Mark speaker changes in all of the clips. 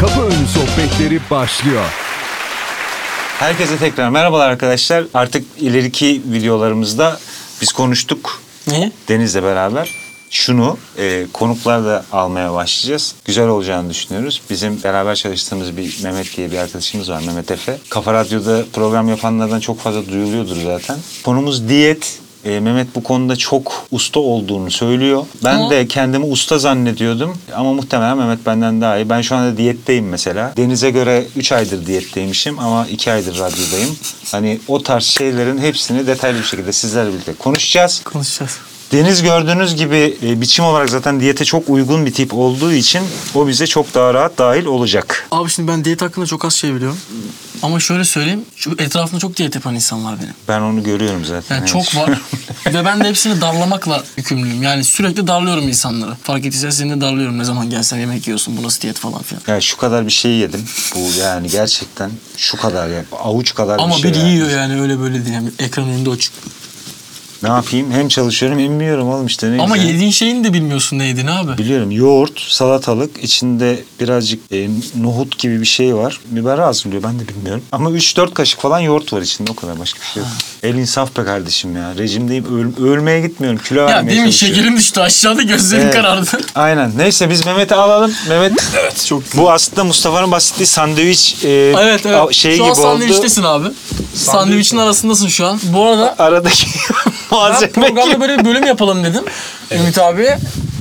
Speaker 1: Kapı Önü Sohbetleri başlıyor.
Speaker 2: Herkese tekrar merhabalar arkadaşlar. Artık ileriki videolarımızda biz konuştuk
Speaker 3: Ne?
Speaker 2: Deniz'le beraber. Şunu e, konuklar da almaya başlayacağız. Güzel olacağını düşünüyoruz. Bizim beraber çalıştığımız bir Mehmet diye bir arkadaşımız var Mehmet Efe. Kafa Radyo'da program yapanlardan çok fazla duyuluyordur zaten. Konumuz diyet. E, Mehmet bu konuda çok usta olduğunu söylüyor. Ben
Speaker 3: Hı.
Speaker 2: de kendimi usta zannediyordum ama muhtemelen Mehmet benden daha iyi. Ben şu anda diyetteyim mesela. Deniz'e göre 3 aydır diyetteymişim ama 2 aydır radyodayım. Hani o tarz şeylerin hepsini detaylı bir şekilde sizlerle birlikte konuşacağız.
Speaker 3: Konuşacağız.
Speaker 2: Deniz gördüğünüz gibi e, biçim olarak zaten diyete çok uygun bir tip olduğu için o bize çok daha rahat dahil olacak.
Speaker 3: Abi şimdi ben diyet hakkında çok az şey biliyorum. Ama şöyle söyleyeyim. Şu etrafımda çok diyet yapan insan var benim.
Speaker 2: Ben onu görüyorum zaten.
Speaker 3: Yani
Speaker 2: Evet.
Speaker 3: çok var. Ve ben de hepsini darlamakla yükümlüyüm. Yani sürekli darlıyorum insanları. Fark ettiysen seni de darlıyorum. Ne zaman gelsen yemek yiyorsun. Bu nasıl diyet falan filan.
Speaker 2: Ya şu kadar bir şey yedim. Bu yani gerçekten şu kadar yani avuç kadar
Speaker 3: Ama
Speaker 2: bir şey.
Speaker 3: biri
Speaker 2: yani.
Speaker 3: yiyor yani öyle böyle diye. Yani ekran önünde o çık.
Speaker 2: Ne yapayım? Hem çalışıyorum hem yiyorum oğlum işte ne
Speaker 3: Ama
Speaker 2: güzel.
Speaker 3: yediğin şeyin de bilmiyorsun ne yediğini abi.
Speaker 2: Biliyorum yoğurt, salatalık, içinde birazcık e, nohut gibi bir şey var. Biber hazırlıyor ben de bilmiyorum. Ama 3-4 kaşık falan yoğurt var içinde o kadar başka bir şey yok. El insaf be kardeşim ya. Rejimdeyim öl- ölmeye gitmiyorum kilo
Speaker 3: Ya
Speaker 2: vermeye
Speaker 3: değil mi?
Speaker 2: çalışıyorum.
Speaker 3: Şekerim düştü aşağıda gözlerim
Speaker 2: Evet.
Speaker 3: karardı.
Speaker 2: Aynen. Neyse biz Mehmet'i alalım. Mehmet
Speaker 3: Evet çok
Speaker 2: bu aslında Mustafa'nın bahsettiği sandviç e,
Speaker 3: Evet
Speaker 2: a-
Speaker 3: evet.
Speaker 2: şey
Speaker 3: şu an
Speaker 2: gibi oldu.
Speaker 3: sandviçtesin abi. Sandviçin arasındasın şu an. Bu arada
Speaker 2: Aradaki
Speaker 3: Ben
Speaker 2: malzeme gibi.
Speaker 3: programda böyle bir bölüm yapalım dedim Ümit abiye.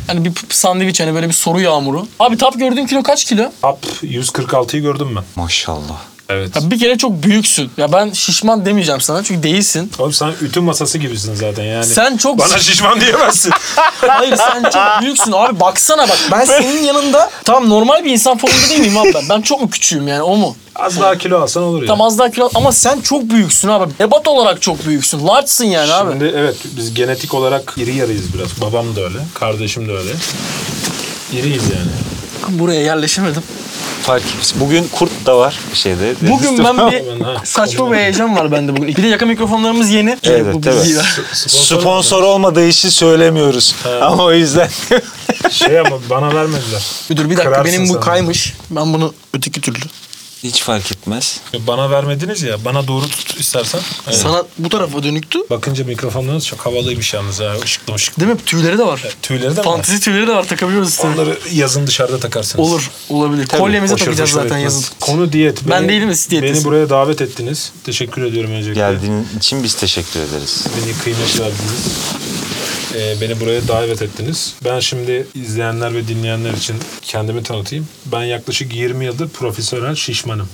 Speaker 3: Hani bir p- sandviç hani böyle bir soru yağmuru. Abi tap gördüğün kilo kaç kilo?
Speaker 4: Hap 146'yı gördün mü?
Speaker 2: Maşallah.
Speaker 4: Evet.
Speaker 3: Ya bir kere çok büyüksün. Ya ben şişman demeyeceğim sana çünkü değilsin.
Speaker 4: Oğlum sen ütü masası gibisin zaten yani.
Speaker 3: Sen çok
Speaker 4: Bana şişman diyemezsin.
Speaker 3: hayır sen çok büyüksün abi baksana bak ben senin yanında tam normal bir insan formunda değil miyim abi ben? Ben çok mu küçüğüm yani o mu?
Speaker 4: Az daha kilo alsan olur ya.
Speaker 3: Tam az daha kilo ama sen çok büyüksün abi. Ebat olarak çok büyüksün. Large'sın yani abi.
Speaker 4: Şimdi evet biz genetik olarak iri yarıyız biraz. Babam da öyle, kardeşim de öyle. İriyiz yani.
Speaker 3: Buraya yerleşemedim.
Speaker 2: Fark etmez. Bugün kurt da var şeyde.
Speaker 3: Bugün ben bir
Speaker 4: Ben ha,
Speaker 3: saçma bir heyecan var bende bugün. Bir de yaka mikrofonlarımız yeni.
Speaker 2: Evet,
Speaker 3: Bu bilgiyi
Speaker 2: evet.
Speaker 3: ver.
Speaker 2: sponsor olmadığı için söylemiyoruz. Ama o yüzden
Speaker 4: Şey ama bana vermediler.
Speaker 3: Müdür bir dakika
Speaker 4: Kırarsın
Speaker 3: benim bu
Speaker 4: sen.
Speaker 3: kaymış. Ben bunu öteki türlü.
Speaker 2: hiç fark etmez.
Speaker 4: Bana vermediniz ya. Bana doğru tut istersen. Evet.
Speaker 3: Sana bu tarafa dönüktü.
Speaker 4: Bakınca mikrofonlarınız çok havalıymış yalnız ha. Işıklı ışıklı.
Speaker 3: Değil mi? Tüyleri de var.
Speaker 4: Tüyleri de mi var?
Speaker 3: Fantezi tüyleri de var takabiliyoruz üstüne.
Speaker 4: Onları yazın dışarıda takarsınız.
Speaker 3: Olur. Olabilir. Kolyemize
Speaker 4: Hoşa-
Speaker 3: takacağız
Speaker 4: hoşa
Speaker 3: zaten
Speaker 4: gitmez.
Speaker 3: yazın.
Speaker 4: Konu diyet.
Speaker 3: Ben değilim de siz
Speaker 4: Beni
Speaker 3: diyettesiniz.
Speaker 4: buraya davet ettiniz. Teşekkür ediyorum öncelikle.
Speaker 2: Geldiğin için biz teşekkür ederiz.
Speaker 4: Beni kıymet verdiniz. Ee, beni buraya davet ettiniz. Ben şimdi izleyenler ve dinleyenler için kendimi tanıtayım. Ben yaklaşık 20 yıldır profesyonel şişmanım.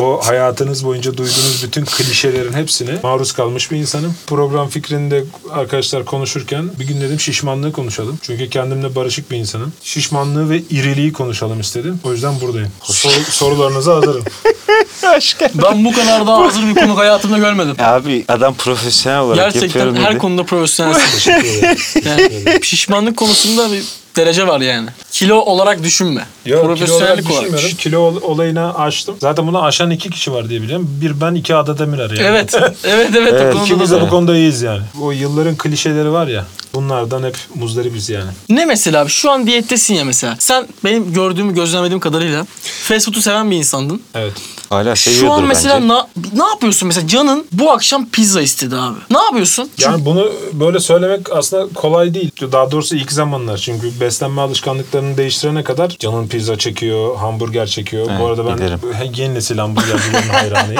Speaker 4: o hayatınız boyunca duyduğunuz bütün klişelerin hepsine maruz kalmış bir insanım. Program fikrinde arkadaşlar konuşurken bir gün dedim şişmanlığı konuşalım. Çünkü kendimle barışık bir insanım. Şişmanlığı ve iriliği konuşalım istedim. O yüzden buradayım. Soru- sorularınıza hazırım.
Speaker 3: Ben bu kadar daha hazır bir konuk hayatımda görmedim.
Speaker 2: Abi adam profesyonel olarak
Speaker 3: Gerçekten
Speaker 2: yapıyorum
Speaker 3: her
Speaker 2: dedi.
Speaker 3: konuda profesyonelsin.
Speaker 4: Teşekkür ederim.
Speaker 3: Yani pişmanlık konusunda bir derece var yani. Kilo olarak düşünme.
Speaker 4: Yok kilo olarak
Speaker 3: Profesyonellik olarak.
Speaker 4: düşünmüyorum.
Speaker 3: düşün.
Speaker 4: Kilo ol- olayını açtım. Zaten bunu aşan iki kişi var diye biliyorum. Bir ben iki Adademirer yani.
Speaker 3: Evet. Evet evet. evet. o konuda
Speaker 4: İkimiz
Speaker 3: da-
Speaker 4: de bu konuda iyiyiz yani. O yılların klişeleri var ya. Bunlardan hep muzdaribiz yani.
Speaker 3: Ne mesela abi? Şu an diyettesin ya mesela. Sen benim gördüğüm, gözlemlediğim kadarıyla fast food'u seven bir insandın.
Speaker 4: Evet.
Speaker 2: Hala seviyordur
Speaker 3: Şu an mesela
Speaker 2: bence.
Speaker 3: na, ne yapıyorsun mesela? Canın bu akşam pizza istedi abi. Ne yapıyorsun? Çünkü
Speaker 4: Yani bunu böyle söylemek aslında kolay değil. Daha doğrusu ilk zamanlar. Çünkü beslenme alışkanlıklarını değiştirene kadar canın pizza çekiyor, hamburger çekiyor. Bu arada ben
Speaker 2: bilirim.
Speaker 4: yeni nesil hamburgercilerin hayranıyım.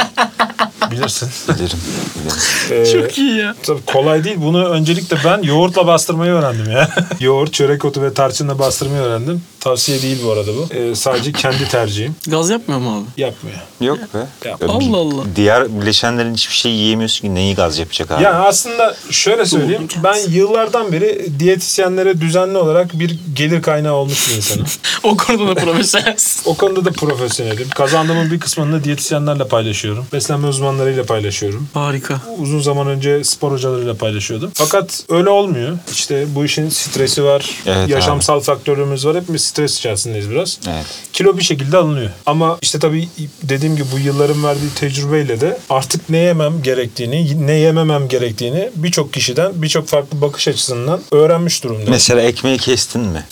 Speaker 4: Bilirsin.
Speaker 2: Bilirim, bilirim.
Speaker 4: Ee,
Speaker 3: çok iyi ya.
Speaker 4: Tabii kolay değil. Bunu öncelikle ben yoğurtla bastırmayı öğrendim ya. Yoğurt, çörek otu ve tarçınla bastırmayı öğrendim. Tavsiye değil bu arada bu. Ee, sadece kendi tercihim.
Speaker 3: Gaz yapmıyor mu abi?
Speaker 4: Yapmıyor.
Speaker 2: Yok be.
Speaker 4: Ya,
Speaker 2: Ya
Speaker 3: Allah Allah.
Speaker 2: Diğer bileşenlerin hiçbir şey yiyemiyorsun ki neyi gaz yapacak abi?
Speaker 4: Yani aslında şöyle söyleyeyim. Ben yıllardan beri diyetisyenlere düzenli olarak bir gelir kaynağı olmuş bir insanım.
Speaker 3: O konuda da profesyonelsin.
Speaker 4: O konuda da profesyonelim. Kazandığımın bir kısmını da diyetisyenlerle paylaşıyorum. Beslenme uzmanlarıyla paylaşıyorum.
Speaker 3: Harika.
Speaker 4: uzun zaman önce spor hocalarıyla paylaşıyordum. Fakat öyle olmuyor. İşte bu işin stresi var,
Speaker 2: Evet
Speaker 4: yaşamsal faktörümüz var. Hepimiz stres içerisindeyiz biraz.
Speaker 2: Evet.
Speaker 4: Kilo bir şekilde alınıyor. Ama işte tabii dediğim gibi bu yılların verdiği tecrübeyle de artık ne yemem gerektiğini, ne yememem gerektiğini birçok kişiden, birçok farklı bakış açısından öğrenmiş durumda.
Speaker 2: Mesela ekmeği kestin mi?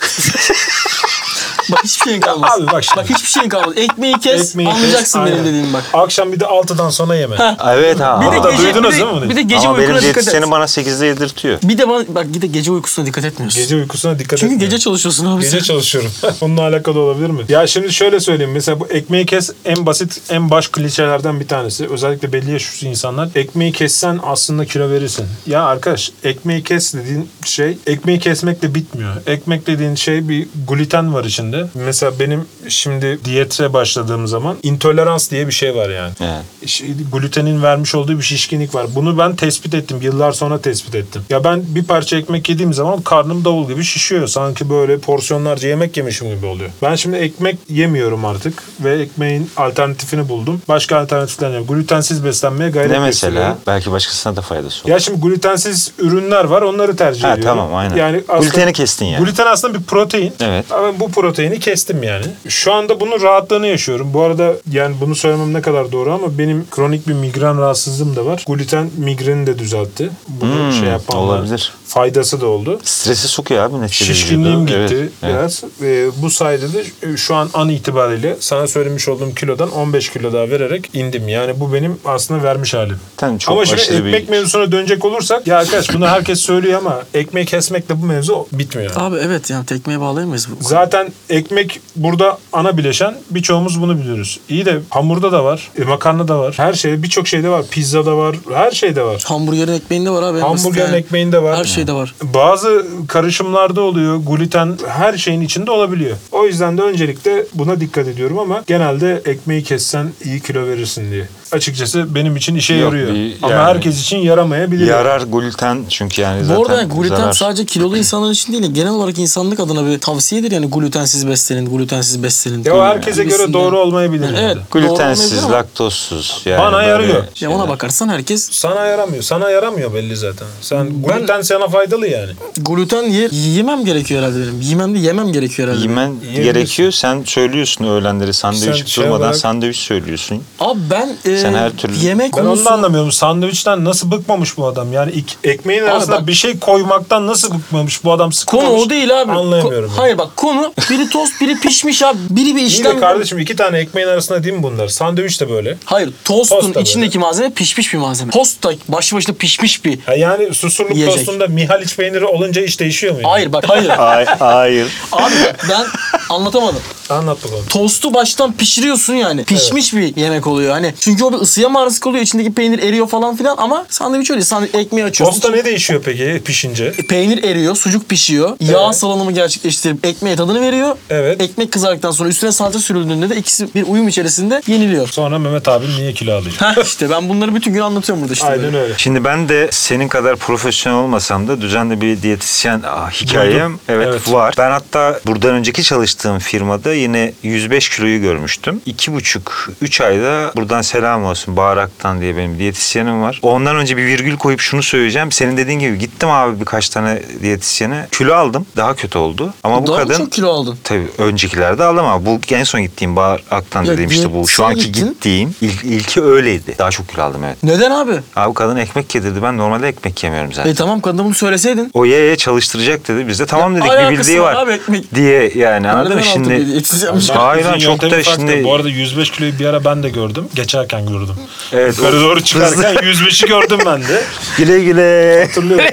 Speaker 3: Bak hiçbir şeyin kalmaz.
Speaker 4: Abi bak şimdi.
Speaker 3: Bak hiçbir şeyin kalmaz. Ekmeği kes
Speaker 4: Ekmeği kes,
Speaker 3: anlayacaksın benim
Speaker 4: aynen.
Speaker 3: dediğimi bak.
Speaker 4: Akşam bir de 6'dan sonra yeme.
Speaker 2: Ah, Evet ha.
Speaker 4: Bir de
Speaker 2: ama-
Speaker 4: gece- duydunuz
Speaker 3: bir
Speaker 4: değil mi bunu?
Speaker 3: Bir de gece
Speaker 2: ama benim
Speaker 3: uykuna dikkat
Speaker 2: diyetisyenim
Speaker 3: et.
Speaker 2: bana 8'de yedirtiyor.
Speaker 3: Bir de bana bak bir de gece uykusuna dikkat etmiyorsun.
Speaker 4: Gece uykusuna dikkat
Speaker 3: Çünkü
Speaker 4: etmiyor.
Speaker 3: gece çalışıyorsun abi.
Speaker 4: Gece
Speaker 3: sen.
Speaker 4: çalışıyorum. Bununla alakalı olabilir mi? Ya şimdi şöyle söyleyeyim. Mesela bu ekmeği kes en basit, en baş klişelerden bir tanesi. Özellikle belli yaşlı insanlar. Ekmeği kessen aslında kilo verirsin. Ya arkadaş ekmeği kes dediğin şey ekmeği kesmekle bitmiyor. Ekmek dediğin şey bir gluten var içinde. Mesela benim şimdi diyete başladığım zaman intolerans diye bir şey var yani.
Speaker 2: Evet.
Speaker 4: Ş- şey, glutenin vermiş olduğu bir şişkinlik var. Bunu ben tespit ettim. Yıllar sonra tespit ettim. Ya ben bir parça ekmek yediğim zaman karnım davul gibi şişiyor. Sanki böyle porsiyonlarca yemek yemişim gibi oluyor. Ben şimdi ekmek yemiyorum artık ve ekmeğin alternatifini buldum. Başka alternatifler yok. Glutensiz beslenmeye gayret
Speaker 2: Ne mesela?
Speaker 4: gösteriyorum.
Speaker 2: Belki başkasına da faydası olur.
Speaker 4: Ya şimdi glutensiz ürünler var onları tercih
Speaker 2: Ha,
Speaker 4: ediyorum.
Speaker 2: tamam, aynen. Gluteni kestin yani.
Speaker 4: Gluten aslında bir protein.
Speaker 2: Evet.
Speaker 4: Ama bu proteini kestim yani. Şu anda bunun rahatlığını yaşıyorum. Bu arada yani bunu söylemem ne kadar doğru ama benim kronik bir migren rahatsızlığım da var. Gluten migreni de düzeltti. Bunu
Speaker 2: Hmm,
Speaker 4: şey yapanlar.
Speaker 2: olabilir.
Speaker 4: Faydası da oldu.
Speaker 2: Stresi sokuyor abi neticede.
Speaker 4: Şişkinliğim gitti
Speaker 2: vücuda. Evet, evet.
Speaker 4: biraz. Ee, bu sayede de şu an an itibariyle sana söylemiş olduğum kilodan 15 kilo daha vererek indim. Yani bu benim aslında vermiş halim.
Speaker 2: Tamam, çok
Speaker 4: ama şimdi
Speaker 2: aşırı bir-
Speaker 4: ekmek mevzusuna dönecek olursak ya arkadaş bunu herkes söylüyor ama ekmek kesmekle bu mevzu bitmiyor.
Speaker 3: Abi evet yani tekmeye bağlayamayız bu.
Speaker 4: Zaten ekmek burada ana bileşen. Birçoğumuz bunu biliyoruz. İyi de hamurda da var, e, makarna da var. Her şey, birçok şeyde var. Pizza da var, her şeyde var.
Speaker 3: Hamburgerin ekmeğinde var abi. en basit
Speaker 4: Hamburgerin
Speaker 3: yani.
Speaker 4: ekmeğinde var.
Speaker 3: Her şeyde var.
Speaker 4: Bazı karışımlarda oluyor. Gluten her şeyin içinde olabiliyor. O yüzden de öncelikle buna dikkat ediyorum ama genelde ekmeği kessen iyi kilo verirsin diye. Açıkçası benim için işe
Speaker 2: Yok,
Speaker 4: yarıyor.
Speaker 2: bir-
Speaker 4: ama
Speaker 2: yani-
Speaker 4: herkes için yaramayabilir.
Speaker 2: Yarar gluten çünkü yani zaten
Speaker 3: Bu arada yani gluten
Speaker 2: zarar.
Speaker 3: sadece kilolu insanlar için değil genel olarak insanlık adına bir tavsiyedir yani glutensiz beslenin, glutensiz beslenin.
Speaker 4: ya o herkese göre
Speaker 3: Gibisinden.
Speaker 4: doğru olmayabilir.
Speaker 3: Evet.
Speaker 4: yani.
Speaker 3: Doğru
Speaker 2: Glutensiz,
Speaker 3: olmayabilir ama-
Speaker 2: laktozsuz. Yani
Speaker 4: Bana
Speaker 2: böyle
Speaker 4: yarıyor.
Speaker 3: Ya ona bakarsan herkes
Speaker 4: Sana yaramıyor. Sana yaramıyor belli zaten. Sen gluten sana faydalı yani.
Speaker 3: gluten ye, yemem gerekiyor herhalde benim. Yemem de yemem gerekiyor herhalde.
Speaker 2: Yemen
Speaker 4: Yiyebilirsin.
Speaker 2: gerekiyor. Sen söylüyorsun öğlenleri sandviç
Speaker 4: Sen şey
Speaker 2: durmadan
Speaker 4: olarak-
Speaker 2: sandviç söylüyorsun.
Speaker 3: Abi ben e,
Speaker 2: Sen her türlü-
Speaker 3: yemek
Speaker 4: Ben onu
Speaker 3: konusu...
Speaker 4: da anlamıyorum. Sandviçten nasıl bıkmamış bu adam? Yani ik- ekmeğin arasında
Speaker 3: bak-
Speaker 4: bir şey koymaktan nasıl bıkmamış bu adam? Sıkılmamış.
Speaker 3: Konu o değil abi.
Speaker 4: Anlayamıyorum.
Speaker 3: Ko- Hayır bak konu biri tost biri pişmiş abi. Biri bir
Speaker 4: İyi
Speaker 3: işlem.
Speaker 4: de kardeşim iki tane ekmeğin arasında değil mi bunlar? Sandviç de böyle.
Speaker 3: Hayır tostun
Speaker 4: Tost da
Speaker 3: içindeki malzeme pişmiş bir malzeme. Tost da başlı başına pişmiş bir.
Speaker 4: Ha yani susurluk
Speaker 3: Yiyecek.
Speaker 4: tostunda Mihaliç peyniri olunca iş değişiyor mu? yani?
Speaker 3: Hayır bak hayır.
Speaker 2: Ay- Hayır.
Speaker 3: abi bak ben anlatamadım.
Speaker 4: Anlat bakalım.
Speaker 3: tostu baştan pişiriyorsun yani. Pişmiş bir yemek oluyor. Hani çünkü o bir ısıya maruz kalıyor. İçindeki peynir eriyor falan filan ama sandviç öyle. Sandviç ekmeği açıyorsun.
Speaker 4: Tosta ne değişiyor peki pişince?
Speaker 3: Peynir eriyor, sucuk pişiyor. Yağ salınımı gerçekleştirip ekmeğe tadını veriyor.
Speaker 4: Evet.
Speaker 3: Ekmek kızardıktan sonra üstüne salça sürüldüğünde de ikisi bir uyum içerisinde yeniliyor.
Speaker 4: Sonra Mehmet abi niye kilo alıyor?
Speaker 3: Heh işte ben bunları bütün gün anlatıyorum burada işte.
Speaker 4: Aynen
Speaker 3: böyle.
Speaker 4: öyle.
Speaker 2: Şimdi ben de senin kadar profesyonel olmasam da düzenli bir diyetisyen aa, hikayem
Speaker 4: Duydum.
Speaker 2: evet,
Speaker 4: Evet.
Speaker 2: var. Ben hatta buradan önceki çalıştığım firmada yine 105 kiloyu görmüştüm. 2,5-3 ayda buradan selam olsun Bağrak'tan diye benim diyetisyenim var. Ondan önce bir virgül koyup şunu söyleyeceğim. Senin dediğin gibi gittim abi birkaç tane diyetisyene. Kilo aldım. Daha kötü oldu. Ama bu
Speaker 3: Daha mı
Speaker 2: kadın
Speaker 3: çok kilo aldın?
Speaker 2: Tabii öncekilerde aldım ama bu en son gittiğim Bahar Aktan
Speaker 3: Ya
Speaker 2: dediğim işte bu. Şu
Speaker 3: diyetisyene
Speaker 2: anki
Speaker 3: gittin.
Speaker 2: gittiğim ilk, ilki öyleydi. Daha çok kilo aldım evet.
Speaker 3: Neden abi?
Speaker 2: Abi kadın ekmek yedirdi. Ben normalde ekmek yemiyorum zaten.
Speaker 3: E tamam kadına bunu söyleseydin.
Speaker 2: o ye ye çalıştıracak dedi. Biz de tamam dedik bir
Speaker 3: alakası
Speaker 2: bildiği
Speaker 3: var
Speaker 2: var.
Speaker 3: abi ekmek.
Speaker 2: Diye yani anladın mı
Speaker 3: Nereden altı bir
Speaker 2: şimdi?
Speaker 3: yetişeceğim?
Speaker 2: Hayır
Speaker 4: Bizim
Speaker 2: lan çok
Speaker 4: yöntemi
Speaker 2: da
Speaker 4: farklı.
Speaker 2: şimdi.
Speaker 4: Bu arada 105 kiloyu bir ara ben de gördüm. Geçerken gördüm.
Speaker 2: Evet,
Speaker 4: Yukarı
Speaker 2: o-
Speaker 4: doğru çıkarken
Speaker 2: hızlı.
Speaker 4: 105'i gördüm ben de.
Speaker 2: Güle güle.
Speaker 4: Hatırlıyorum.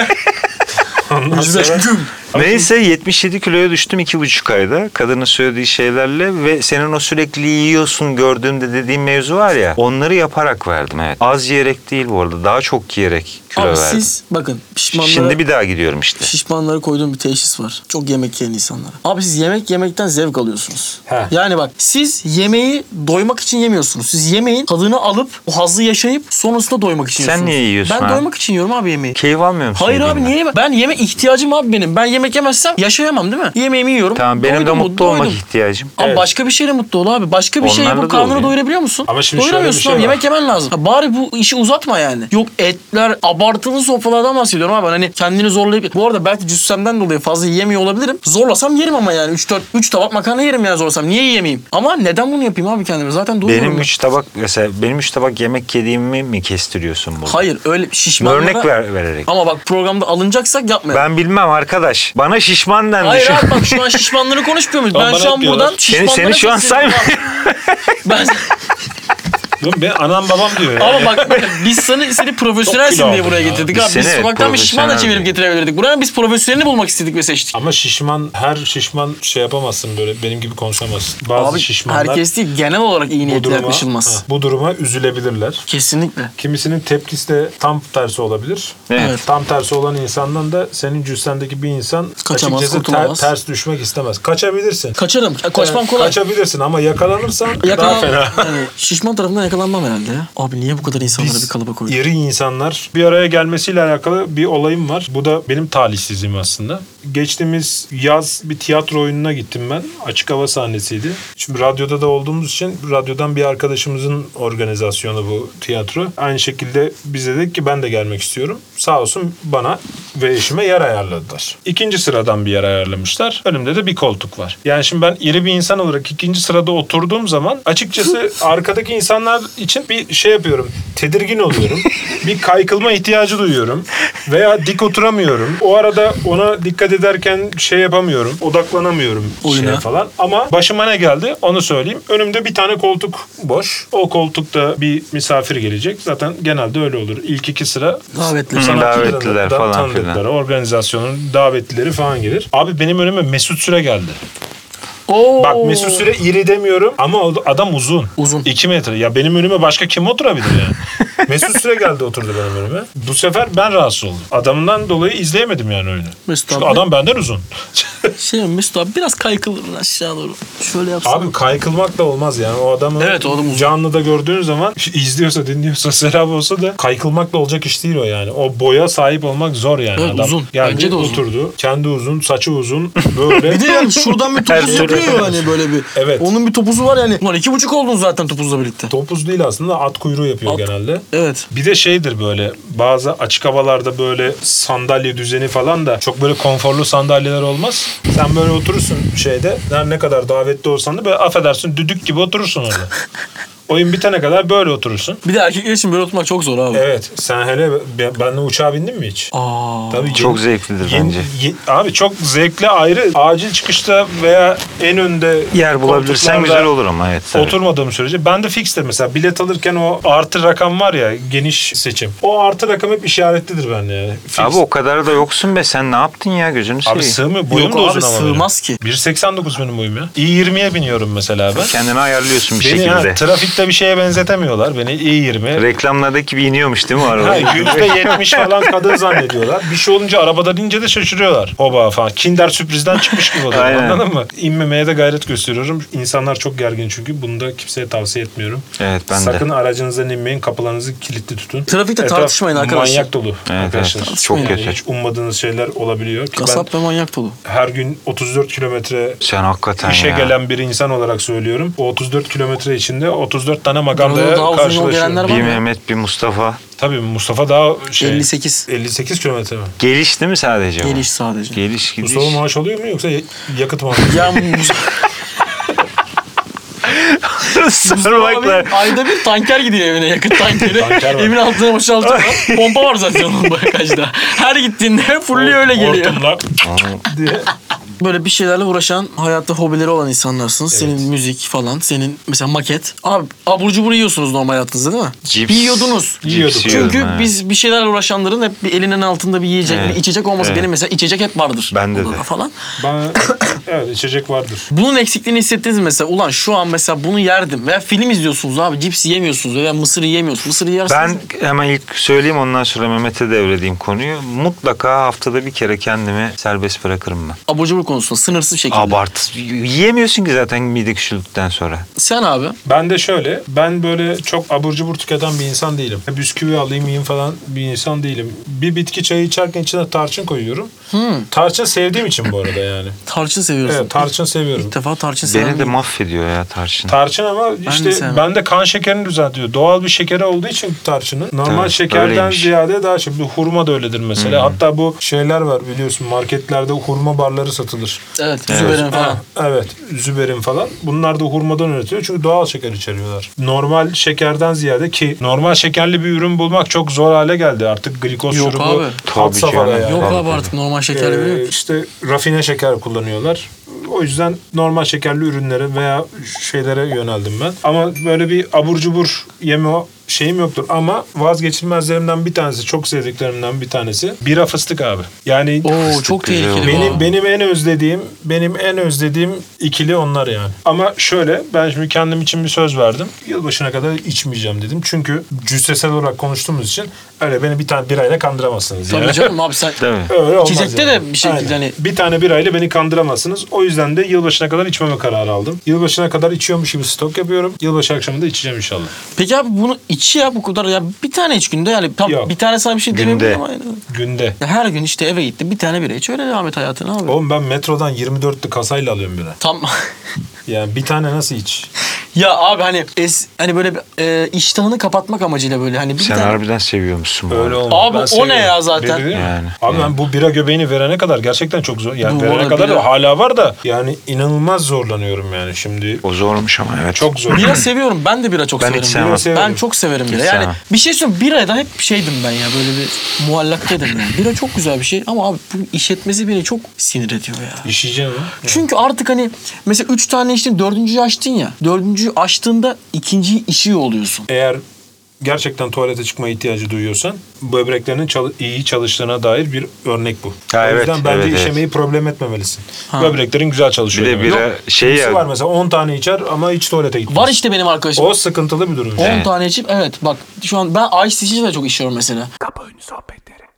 Speaker 4: ben de. Ondan
Speaker 3: Yüzde-
Speaker 4: sonra-
Speaker 3: Güm.
Speaker 2: Neyse 77 kiloya düştüm 2,5 ayda. Kadının söylediği şeylerle ve senin o sürekli yiyorsun gördüğümde dediğim mevzu var ya. Onları yaparak verdim evet. Az yiyerek değil bu arada. Daha çok yiyerek kilo
Speaker 3: Abi
Speaker 2: verdim.
Speaker 3: siz bakın pişmanlara...
Speaker 2: Şimdi bir daha gidiyorum işte.
Speaker 3: Şişmanlara koyduğum bir teşhis var. Çok yemek yiyen insanlara. Abi siz yemek yemekten zevk alıyorsunuz.
Speaker 4: He.
Speaker 3: Yani bak siz yemeği doymak için yemiyorsunuz. Siz yemeğin tadını alıp o hazzı yaşayıp sonrasında doymak için
Speaker 2: Sen
Speaker 3: yiyorsunuz.
Speaker 2: niye yiyorsun
Speaker 3: Ben
Speaker 2: abi? şey
Speaker 3: doymak için yiyorum abi yemeği.
Speaker 2: Keyif almıyor musun?
Speaker 3: Hayır abi
Speaker 2: yediğinden?
Speaker 3: niye? Ben yeme ihtiyacım abi benim. Ben yemek yemezsem yaşayamam değil mi? Yemeğimi yiyorum.
Speaker 2: Tamam benim de
Speaker 3: Doydum mu?
Speaker 2: mutlu olmak
Speaker 3: Doydum.
Speaker 2: ihtiyacım.
Speaker 3: Ama başka bir şeyle mutlu ol abi. Başka bir şey
Speaker 2: Onlarla
Speaker 3: yapıp
Speaker 2: da
Speaker 3: karnını
Speaker 2: oluyor.
Speaker 3: doyurabiliyor musun?
Speaker 4: Ama şimdi şöyle bir
Speaker 3: Doyuramıyorsun
Speaker 4: şey
Speaker 3: abi.
Speaker 4: var.
Speaker 3: Yemek yemen lazım. Ha, bari bu işi uzatma yani. Yok etler abartılı sofralardan bahsediyorum abi. Ben Hani kendini zorlayıp... Bu arada belki cüssemden dolayı fazla yiyemiyor olabilirim. Zorlasam yerim ama yani. 3 4 3 tabak makarna yerim yani zorlasam. Niye yiyemeyeyim? Ama neden bunu yapayım abi kendime? Zaten doyuyorum.
Speaker 2: Benim
Speaker 3: ben.
Speaker 2: üç tabak mesela benim üç tabak yemek yediğimi mi kestiriyorsun burada?
Speaker 3: Hayır öyle şişmanlara...
Speaker 2: Örnek ver, vererek.
Speaker 3: Ama bak programda alınacaksak yapmayalım.
Speaker 2: Ben bilmem arkadaş demiş. Bana şişman denmiş.
Speaker 3: Hayır abi bak şu an şişmanları konuşmuyor muyuz?
Speaker 4: Tamam,
Speaker 3: Ben
Speaker 4: bana
Speaker 3: şu an
Speaker 4: yapıyorlar.
Speaker 3: buradan
Speaker 2: Seni-
Speaker 3: şişmanlara
Speaker 2: seni şu an
Speaker 3: sesleniyorum abi. Ben,
Speaker 4: Oğlum ben anam babam diyor ya.
Speaker 3: ama bak biz seni, seni
Speaker 4: Çok
Speaker 3: profesyonelsin diye
Speaker 4: kilo
Speaker 3: buraya
Speaker 4: aldım ya.
Speaker 3: getirdik
Speaker 2: Biz
Speaker 3: abi. Biz
Speaker 2: seni
Speaker 3: sokaktan bir şişman da
Speaker 2: profesyonel
Speaker 3: çevirip
Speaker 2: diye.
Speaker 3: getirebilirdik. Buraya biz profesyonelini bulmak istedik ve seçtik.
Speaker 4: Ama şişman her şişman şey yapamazsın böyle benim gibi konuşamazsın. Bazı
Speaker 3: Abi
Speaker 4: şişmanlar
Speaker 3: herkes değil genel olarak iyi
Speaker 4: bu
Speaker 3: niyetle
Speaker 4: duruma,
Speaker 3: yaklaşılmaz.
Speaker 4: Ha, bu duruma üzülebilirler.
Speaker 3: Kesinlikle.
Speaker 4: Kimisinin tepkisi de tam tersi olabilir.
Speaker 2: Evet.
Speaker 3: Evet.
Speaker 4: Tam tersi olan insandan da senin cüssendeki bir insan
Speaker 3: Kaçamaz,
Speaker 4: açıkçası
Speaker 3: kurtulamaz.
Speaker 4: ters düşmek istemez. Kaçabilirsin.
Speaker 3: Kaçarım. Ya Kaçmam kolay.
Speaker 4: Kaçabilirsin ama yakalanırsan daha
Speaker 3: Yakalan...
Speaker 4: fena.
Speaker 3: Yani şişman tarafından yakalanmam herhalde ya. Abi niye bu kadar insanlara bir kalıba koydun?
Speaker 4: iri insanlar bir araya gelmesiyle alakalı bir olayım var. Bu da benim talihsizliğim aslında. Geçtiğimiz yaz bir tiyatro oyununa gittim ben. Açık hava sahnesiydi. Şimdi radyoda da olduğumuz için radyodan bir arkadaşımızın organizasyonu bu tiyatro. Aynı şekilde bize dedik ki ben de gelmek istiyorum. Sağ olsun bana ve eşime yer ayarladılar. İkinci sıradan bir yer ayarlamışlar. Önümde de bir koltuk var. Yani şimdi ben iri bir insan olarak ikinci sırada oturduğum zaman açıkçası arkadaki insanlar için bir şey yapıyorum. Tedirgin oluyorum. bir kaykılma ihtiyacı duyuyorum. Veya dik oturamıyorum. O arada ona dikkat ederken şey yapamıyorum. Odaklanamıyorum
Speaker 3: Oyuna.
Speaker 4: şeye falan. Ama başıma ne geldi onu söyleyeyim. Önümde bir tane koltuk boş. O koltukta bir misafir gelecek. Zaten genelde öyle olur. İlk iki sıra
Speaker 3: Davetli.
Speaker 4: sanatçıların
Speaker 2: davetliler
Speaker 4: da
Speaker 2: falan filan.
Speaker 4: tanıdıkları, organizasyonun davetlileri falan gelir. Abi benim önüme Mesut Süre geldi.
Speaker 3: Oo.
Speaker 4: Bak Mesut Süre iri demiyorum ama o adam uzun.
Speaker 3: Uzun.
Speaker 4: 2 metre. Ya benim önüme başka kim oturabilir yani? Mesut Süre geldi oturdu benim önüme. Bu sefer ben rahatsız oldum. Adamından dolayı izleyemedim yani oyunu.
Speaker 3: Mesut
Speaker 4: Çünkü
Speaker 3: abi-
Speaker 4: adam benden uzun.
Speaker 3: Şey mi Mesut abi biraz kaykılırın aşağı doğru. Şöyle yapsana.
Speaker 4: Abi kaykılmak da olmaz yani. O adamı
Speaker 3: Evet, o adam uzun.
Speaker 4: canlı da gördüğün zaman izliyorsa dinliyorsa serap olsa da kaykılmak da olacak iş değil o yani. O boya sahip olmak zor yani.
Speaker 3: Evet,
Speaker 4: adam
Speaker 3: uzun.
Speaker 4: Geldi,
Speaker 3: Bence de uzun.
Speaker 4: oturdu. Kendi uzun, saçı uzun. Böyle.
Speaker 3: Bir de yani şuradan bir topuz
Speaker 2: türlü.
Speaker 3: yapıyor yani böyle bir.
Speaker 4: Evet.
Speaker 3: Onun bir topuzu var yani. Ulan iki buçuk oldun zaten topuzla birlikte.
Speaker 4: Topuz değil aslında at kuyruğu yapıyor
Speaker 3: At-
Speaker 4: genelde.
Speaker 3: Evet.
Speaker 4: Bir de şeydir böyle bazı açık havalarda böyle sandalye düzeni falan da çok böyle konforlu sandalyeler olmaz. Sen böyle oturursun şeyde her ne kadar davetli olsan da böyle affedersin düdük gibi oturursun orada. Oyun bitene kadar böyle oturursun.
Speaker 3: Bir de erkekler için böyle oturmak çok zor abi.
Speaker 4: Evet sen hele be- benle uçağa bindin mi hiç?
Speaker 3: Aa.
Speaker 4: Tabii
Speaker 2: Çok
Speaker 4: yeni-
Speaker 2: zevklidir
Speaker 4: yeni-
Speaker 2: bence.
Speaker 4: ye- abi çok zevkli ayrı. Acil çıkışta veya en önde
Speaker 2: Yer bulabilirsen
Speaker 4: koltuklarda-
Speaker 2: güzel olur ama evet. tabii.
Speaker 4: Oturmadığım sürece ben de fixtir mesela bilet alırken o artı rakam var ya geniş seçim. O artı rakam hep işaretlidir bende yani. Fix.
Speaker 2: Abi o şey- kadar da yoksun be sen ne yaptın ya gözünü
Speaker 4: Abi
Speaker 2: seveyim.
Speaker 4: sığmıyor. Boyum
Speaker 3: Yok
Speaker 4: da
Speaker 3: şey. abi,
Speaker 4: uzun ama benim.
Speaker 3: sığmaz ki.
Speaker 4: 1.89 benim boyum ya. İ20'ye biniyorum mesela ben.
Speaker 2: Kendini ayarlıyorsun bir
Speaker 4: Beni ha,
Speaker 2: şekilde.
Speaker 4: trafikte bir şeye benzetemiyorlar. Beni İ20.
Speaker 2: Reklamlardaki gibi iniyormuş değil mi
Speaker 4: Ha,
Speaker 2: araba?
Speaker 4: %70 falan kadın zannediyorlar. Bir şey olunca arabadan ince de şaşırıyorlar. Hoba falan. Kinder sürprizden çıkmış gibi oluyor.
Speaker 2: Aynen.
Speaker 4: Anladın mı? İnmemeye de gayret gösteriyorum. İnsanlar çok gergin çünkü. Bunu da kimseye tavsiye etmiyorum.
Speaker 2: evet ben
Speaker 4: Sakın
Speaker 2: de.
Speaker 4: aracınızdan inmeyin. Kapılarınızı kilitli tutun.
Speaker 3: Trafikte
Speaker 4: Etraf
Speaker 3: tartışmayın arkadaşlar.
Speaker 4: Manyak dolu
Speaker 2: Evet,
Speaker 4: arkadaşlar.
Speaker 2: evet. Çok
Speaker 4: Yani
Speaker 2: kötü.
Speaker 4: Hiç ummadığınız şeyler olabiliyor. Ki
Speaker 3: Kasap ve manyak dolu.
Speaker 4: Ben her gün 34 kilometre
Speaker 2: Sen hakikaten
Speaker 4: işe
Speaker 2: ya.
Speaker 4: gelen bir insan olarak söylüyorum. O 34 kilometre içinde 34 tane
Speaker 3: Daha-
Speaker 4: magandaya
Speaker 3: daha uzun yol gelenler
Speaker 4: karşılaşıyorum.
Speaker 3: var.
Speaker 2: Bir
Speaker 3: Tamam.
Speaker 2: Mehmet bir Mustafa.
Speaker 4: Tabii Mustafa daha şey...
Speaker 3: 58.
Speaker 4: 58 kilometre mi?
Speaker 2: Geliş değil mi sadece bu?
Speaker 3: Geliş sadece.
Speaker 2: Geliş gidiş.
Speaker 4: Mustafa maaş alıyor mu yoksa ya- yakıt maaşı?
Speaker 3: Ya Mustafa abi
Speaker 2: Sormakla.
Speaker 3: ayda bir tanker gidiyor evine yakın tankeri.
Speaker 4: Tanker var.
Speaker 3: Evin altına boşaltıyor. Pompa var zaten onun bagajda. Her gittiğinde fulli öyle geliyor.
Speaker 4: Hortumla diye.
Speaker 3: Böyle bir şeylerle uğraşan, hayatta hobileri olan insanlarsınız. Senin
Speaker 4: Evet.
Speaker 3: müzik falan, senin mesela maket. Abi abur cubur yiyorsunuz normal hayatınızda değil mi?
Speaker 2: Cips.
Speaker 3: Yiyordunuz.
Speaker 4: Yiyorduk.
Speaker 2: yiyordum,
Speaker 3: Çünkü
Speaker 2: evet.
Speaker 3: biz bir şeylerle uğraşanların hep bir elinin altında bir yiyecek,
Speaker 2: Evet.
Speaker 3: bir içecek olması.
Speaker 2: Evet.
Speaker 3: Benim mesela içecek hep vardır.
Speaker 2: Bende
Speaker 3: odada
Speaker 2: de.
Speaker 3: Falan.
Speaker 4: Ben, evet içecek vardır.
Speaker 3: Bunun eksikliğini hissettiniz mi mesela? Ulan şu an mesela bunu yerdim. Veya film izliyorsunuz abi. Cips yemiyorsunuz veya mısır yiyemiyorsunuz. Mısır yersiniz.
Speaker 2: Ben hemen ilk söyleyeyim ondan sonra Mehmet'e devredeyim konuyu. Mutlaka haftada bir kere kendimi serbest bırakırım ben.
Speaker 3: abur cubur konusunda sınırsız şekilde.
Speaker 2: Abart. Yiyemiyorsun ki zaten mide küçüldükten sonra.
Speaker 3: Sen abi
Speaker 4: Ben de şöyle, ben böyle çok abur cubur tüketen bir insan değilim. Bisküvi alayım yiyeyim falan bir insan değilim. Bir bitki çayı içerken içine tarçın koyuyorum.
Speaker 3: Hmm.
Speaker 4: Tarçın sevdiğim için bu arada yani.
Speaker 3: tarçın seviyorsun.
Speaker 4: Evet, tarçın seviyorum.
Speaker 3: İlk defa tarçın seven
Speaker 2: Beni de
Speaker 3: bir-
Speaker 2: mahvediyor ya tarçın.
Speaker 4: Tarçın ama işte
Speaker 3: sevmem.
Speaker 4: bende kan şekerini düzeltiyor. Doğal bir şekeri olduğu için tarçının. Normal
Speaker 2: Evet,
Speaker 4: şekerden
Speaker 2: öyleymiş.
Speaker 4: ziyade daha şey. Bir hurma da öyledir mesela. Hatta bu şeyler var biliyorsun marketlerde hurma barları satılır.
Speaker 3: Evet, Züberin falan.
Speaker 4: Ha, evet. Züberin falan. Bunlar da hurmadan üretiyor. Çünkü doğal şeker içeriyorlar. Normal şekerden ziyade ki normal şekerli bir ürün bulmak çok zor hale geldi. Artık glikoz
Speaker 3: Yok
Speaker 4: şurubu
Speaker 3: abi.
Speaker 2: Tabii
Speaker 4: had
Speaker 2: ki
Speaker 4: safhada
Speaker 2: yani.
Speaker 4: yani.
Speaker 3: Yok
Speaker 2: Tabii,
Speaker 3: abi
Speaker 2: tabii.
Speaker 3: artık normal şeker bile
Speaker 4: Ee,
Speaker 3: yok.
Speaker 4: işte rafine şeker kullanıyorlar. O yüzden normal şekerli ürünlere veya şeylere yöneldim ben. Ama böyle bir abur cubur yeme şeyim yoktur. Ama vazgeçilmezlerimden bir tanesi, çok sevdiklerimden bir tanesi bira fıstık abi. Yani
Speaker 3: Oo çok
Speaker 2: güzel
Speaker 3: tehlikeli bu.
Speaker 4: benim,
Speaker 3: abi.
Speaker 4: benim en özlediğim, benim en özlediğim ikili onlar yani. Ama şöyle ben şimdi kendim için bir söz verdim. Yılbaşına kadar içmeyeceğim dedim. Çünkü cüssesel olarak konuştuğumuz için öyle beni bir tane birayla kandıramazsınız.
Speaker 3: Tabii
Speaker 4: yani.
Speaker 3: canım abi sen
Speaker 2: Değil mi?
Speaker 4: Öyle olmaz
Speaker 3: İçecekte
Speaker 4: yani.
Speaker 3: de bir şekilde hani-
Speaker 4: Bir tane birayla beni kandıramazsınız. O yüzden de yılbaşına kadar içmeme kararı aldım. Yılbaşına kadar içiyormuş gibi stok yapıyorum. Yılbaşı akşamında içeceğim inşallah.
Speaker 3: Peki abi bunu içi ya bu kadar ya bir tane iç günde yani tam
Speaker 4: Yok.
Speaker 3: bir tane sana bir şey
Speaker 2: Günde.
Speaker 3: demeyebilirim ama yani.
Speaker 4: Günde.
Speaker 3: Ya her gün işte eve gitti bir tane bira iç öyle devam et hayatına abi.
Speaker 4: Oğlum ben metrodan 24'lü kasayla alıyorum bira.
Speaker 3: Tam
Speaker 4: Yani bir tane nasıl iç?
Speaker 3: ya abi hani es, hani böyle bir, e, iştahını kapatmak amacıyla böyle hani bir
Speaker 2: Sen
Speaker 3: tane
Speaker 2: harbiden seviyormuşsun bu
Speaker 4: Öyle
Speaker 2: arada.
Speaker 4: olmaz.
Speaker 3: Abi o ne ya zaten?
Speaker 2: Yani,
Speaker 4: Abi
Speaker 2: yani.
Speaker 4: ben bu bira göbeğini verene kadar gerçekten çok zor. Yani
Speaker 3: Bu
Speaker 4: verene
Speaker 3: arada
Speaker 4: kadar
Speaker 3: bira-
Speaker 4: da hala var da yani inanılmaz zorlanıyorum yani şimdi.
Speaker 2: O zormuş ama evet.
Speaker 4: Çok zor.
Speaker 3: Bira seviyorum. Ben de bira çok
Speaker 2: Ben hiç
Speaker 3: severim.
Speaker 2: sevmem.
Speaker 3: Bira
Speaker 4: Severim.
Speaker 3: Ben çok severim bira.
Speaker 2: Hiç
Speaker 3: Yani
Speaker 2: sevmem.
Speaker 3: bir şey söyleyeyim birada hep şeydim ben ya böyle bir muallak dedim. Yani. Bira çok güzel bir şey ama abi bu işletmesi beni çok sinir ediyor ya.
Speaker 4: İşeyeceğim ama.
Speaker 3: Çünkü artık hani mesela üç tane içtin dördüncüyü açtın ya. Dördüncüyü açtığında ikinciyi işiyor oluyorsun.
Speaker 4: Eğer gerçekten tuvalete çıkma ihtiyacı duyuyorsan böbreklerinin çal- iyi çalıştığına dair bir örnek bu.
Speaker 2: Ha,
Speaker 4: o
Speaker 2: evet,
Speaker 4: yüzden bence
Speaker 2: evet,
Speaker 4: işemeyi problem etmemelisin.
Speaker 3: Ha.
Speaker 4: Böbreklerin güzel
Speaker 2: Bir
Speaker 4: çalışıyor.
Speaker 2: de
Speaker 4: demek.
Speaker 2: bira
Speaker 4: Yok,
Speaker 2: şey
Speaker 4: kimisi
Speaker 2: ya.
Speaker 4: var mesela 10 tane içer ama hiç tuvalete gitmez.
Speaker 3: Var işte benim arkadaşım.
Speaker 4: O sıkıntılı bir durum.
Speaker 3: 10
Speaker 4: Yani.
Speaker 3: tane içip evet bak şu an ben ice içince de çok işiyorum mesela.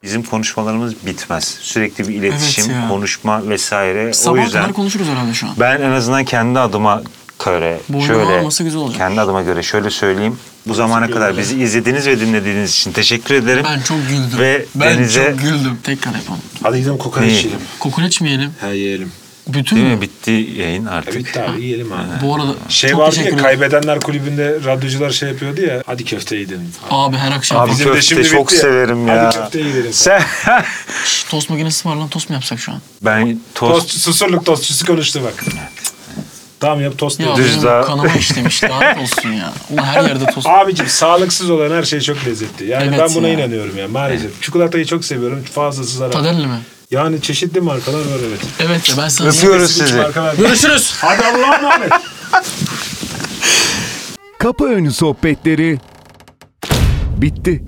Speaker 2: Bizim konuşmalarımız bitmez. Sürekli bir iletişim,
Speaker 3: ya.
Speaker 2: konuşma vesaire. o
Speaker 3: Sabah
Speaker 2: yüzden
Speaker 3: kadar konuşuruz herhalde şu an.
Speaker 2: ben en azından kendi adıma göre
Speaker 3: Boynuma
Speaker 2: şöyle
Speaker 3: alması güzel olacak.
Speaker 2: kendi adıma göre şöyle söyleyeyim. Bu zamana kadar bizi izlediğiniz ve dinlediğiniz için teşekkür ederim.
Speaker 3: Ben çok güldüm.
Speaker 2: Ve
Speaker 3: ben
Speaker 2: denize-
Speaker 3: çok güldüm. Tekrar yapalım.
Speaker 4: Hadi gidelim kokoreç
Speaker 2: İyi.
Speaker 4: yiyelim.
Speaker 3: Kokoreç mi yiyelim?
Speaker 4: Ha yiyelim.
Speaker 3: Bütün
Speaker 2: Değil
Speaker 3: mü?
Speaker 2: mi? Bitti yayın artık.
Speaker 4: Bitti abi yiyelim abi.
Speaker 3: Bu arada
Speaker 4: Şey
Speaker 3: çok
Speaker 4: vardı
Speaker 3: teşekkür
Speaker 4: ya
Speaker 3: ederim.
Speaker 4: kaybedenler kulübünde radyocular şey yapıyordu ya. Hadi köfte yiyelim.
Speaker 3: Abi her akşam
Speaker 2: Abi
Speaker 3: tost-
Speaker 4: Bizim de
Speaker 2: köfte
Speaker 4: şimdi
Speaker 2: çok
Speaker 4: bitti ya.
Speaker 2: severim
Speaker 4: Hadi
Speaker 2: ya.
Speaker 4: köfteye gidelim.
Speaker 2: Sen
Speaker 3: Şş, tost makinesi var lan tost mu yapsak şu an?
Speaker 2: ben tost,
Speaker 4: Tost, susurluk tostçusu konuştu bak. Tamam yap tost
Speaker 3: Ya
Speaker 4: yiyelim.
Speaker 2: Düz
Speaker 3: benim
Speaker 2: daha-
Speaker 3: kanama işlemiş lanet olsun ya. Ulan her yerde tost.
Speaker 4: Abicim sağlıksız olan her şey çok lezzetli. Yani
Speaker 3: Evet
Speaker 4: ben buna
Speaker 3: ya.
Speaker 4: inanıyorum yani maalesef. Çikolatayı çok seviyorum. Fazlası zarar.
Speaker 3: Tadelli mi?
Speaker 4: Yani çeşitli markalar var evet.
Speaker 3: Evet ya ben sana...
Speaker 2: öpüyoruz
Speaker 4: Üç
Speaker 2: sizi.
Speaker 4: marka var.
Speaker 3: Görüşürüz.
Speaker 4: Hadi Allah'a emanet.
Speaker 1: Kapı önü sohbetleri bitti.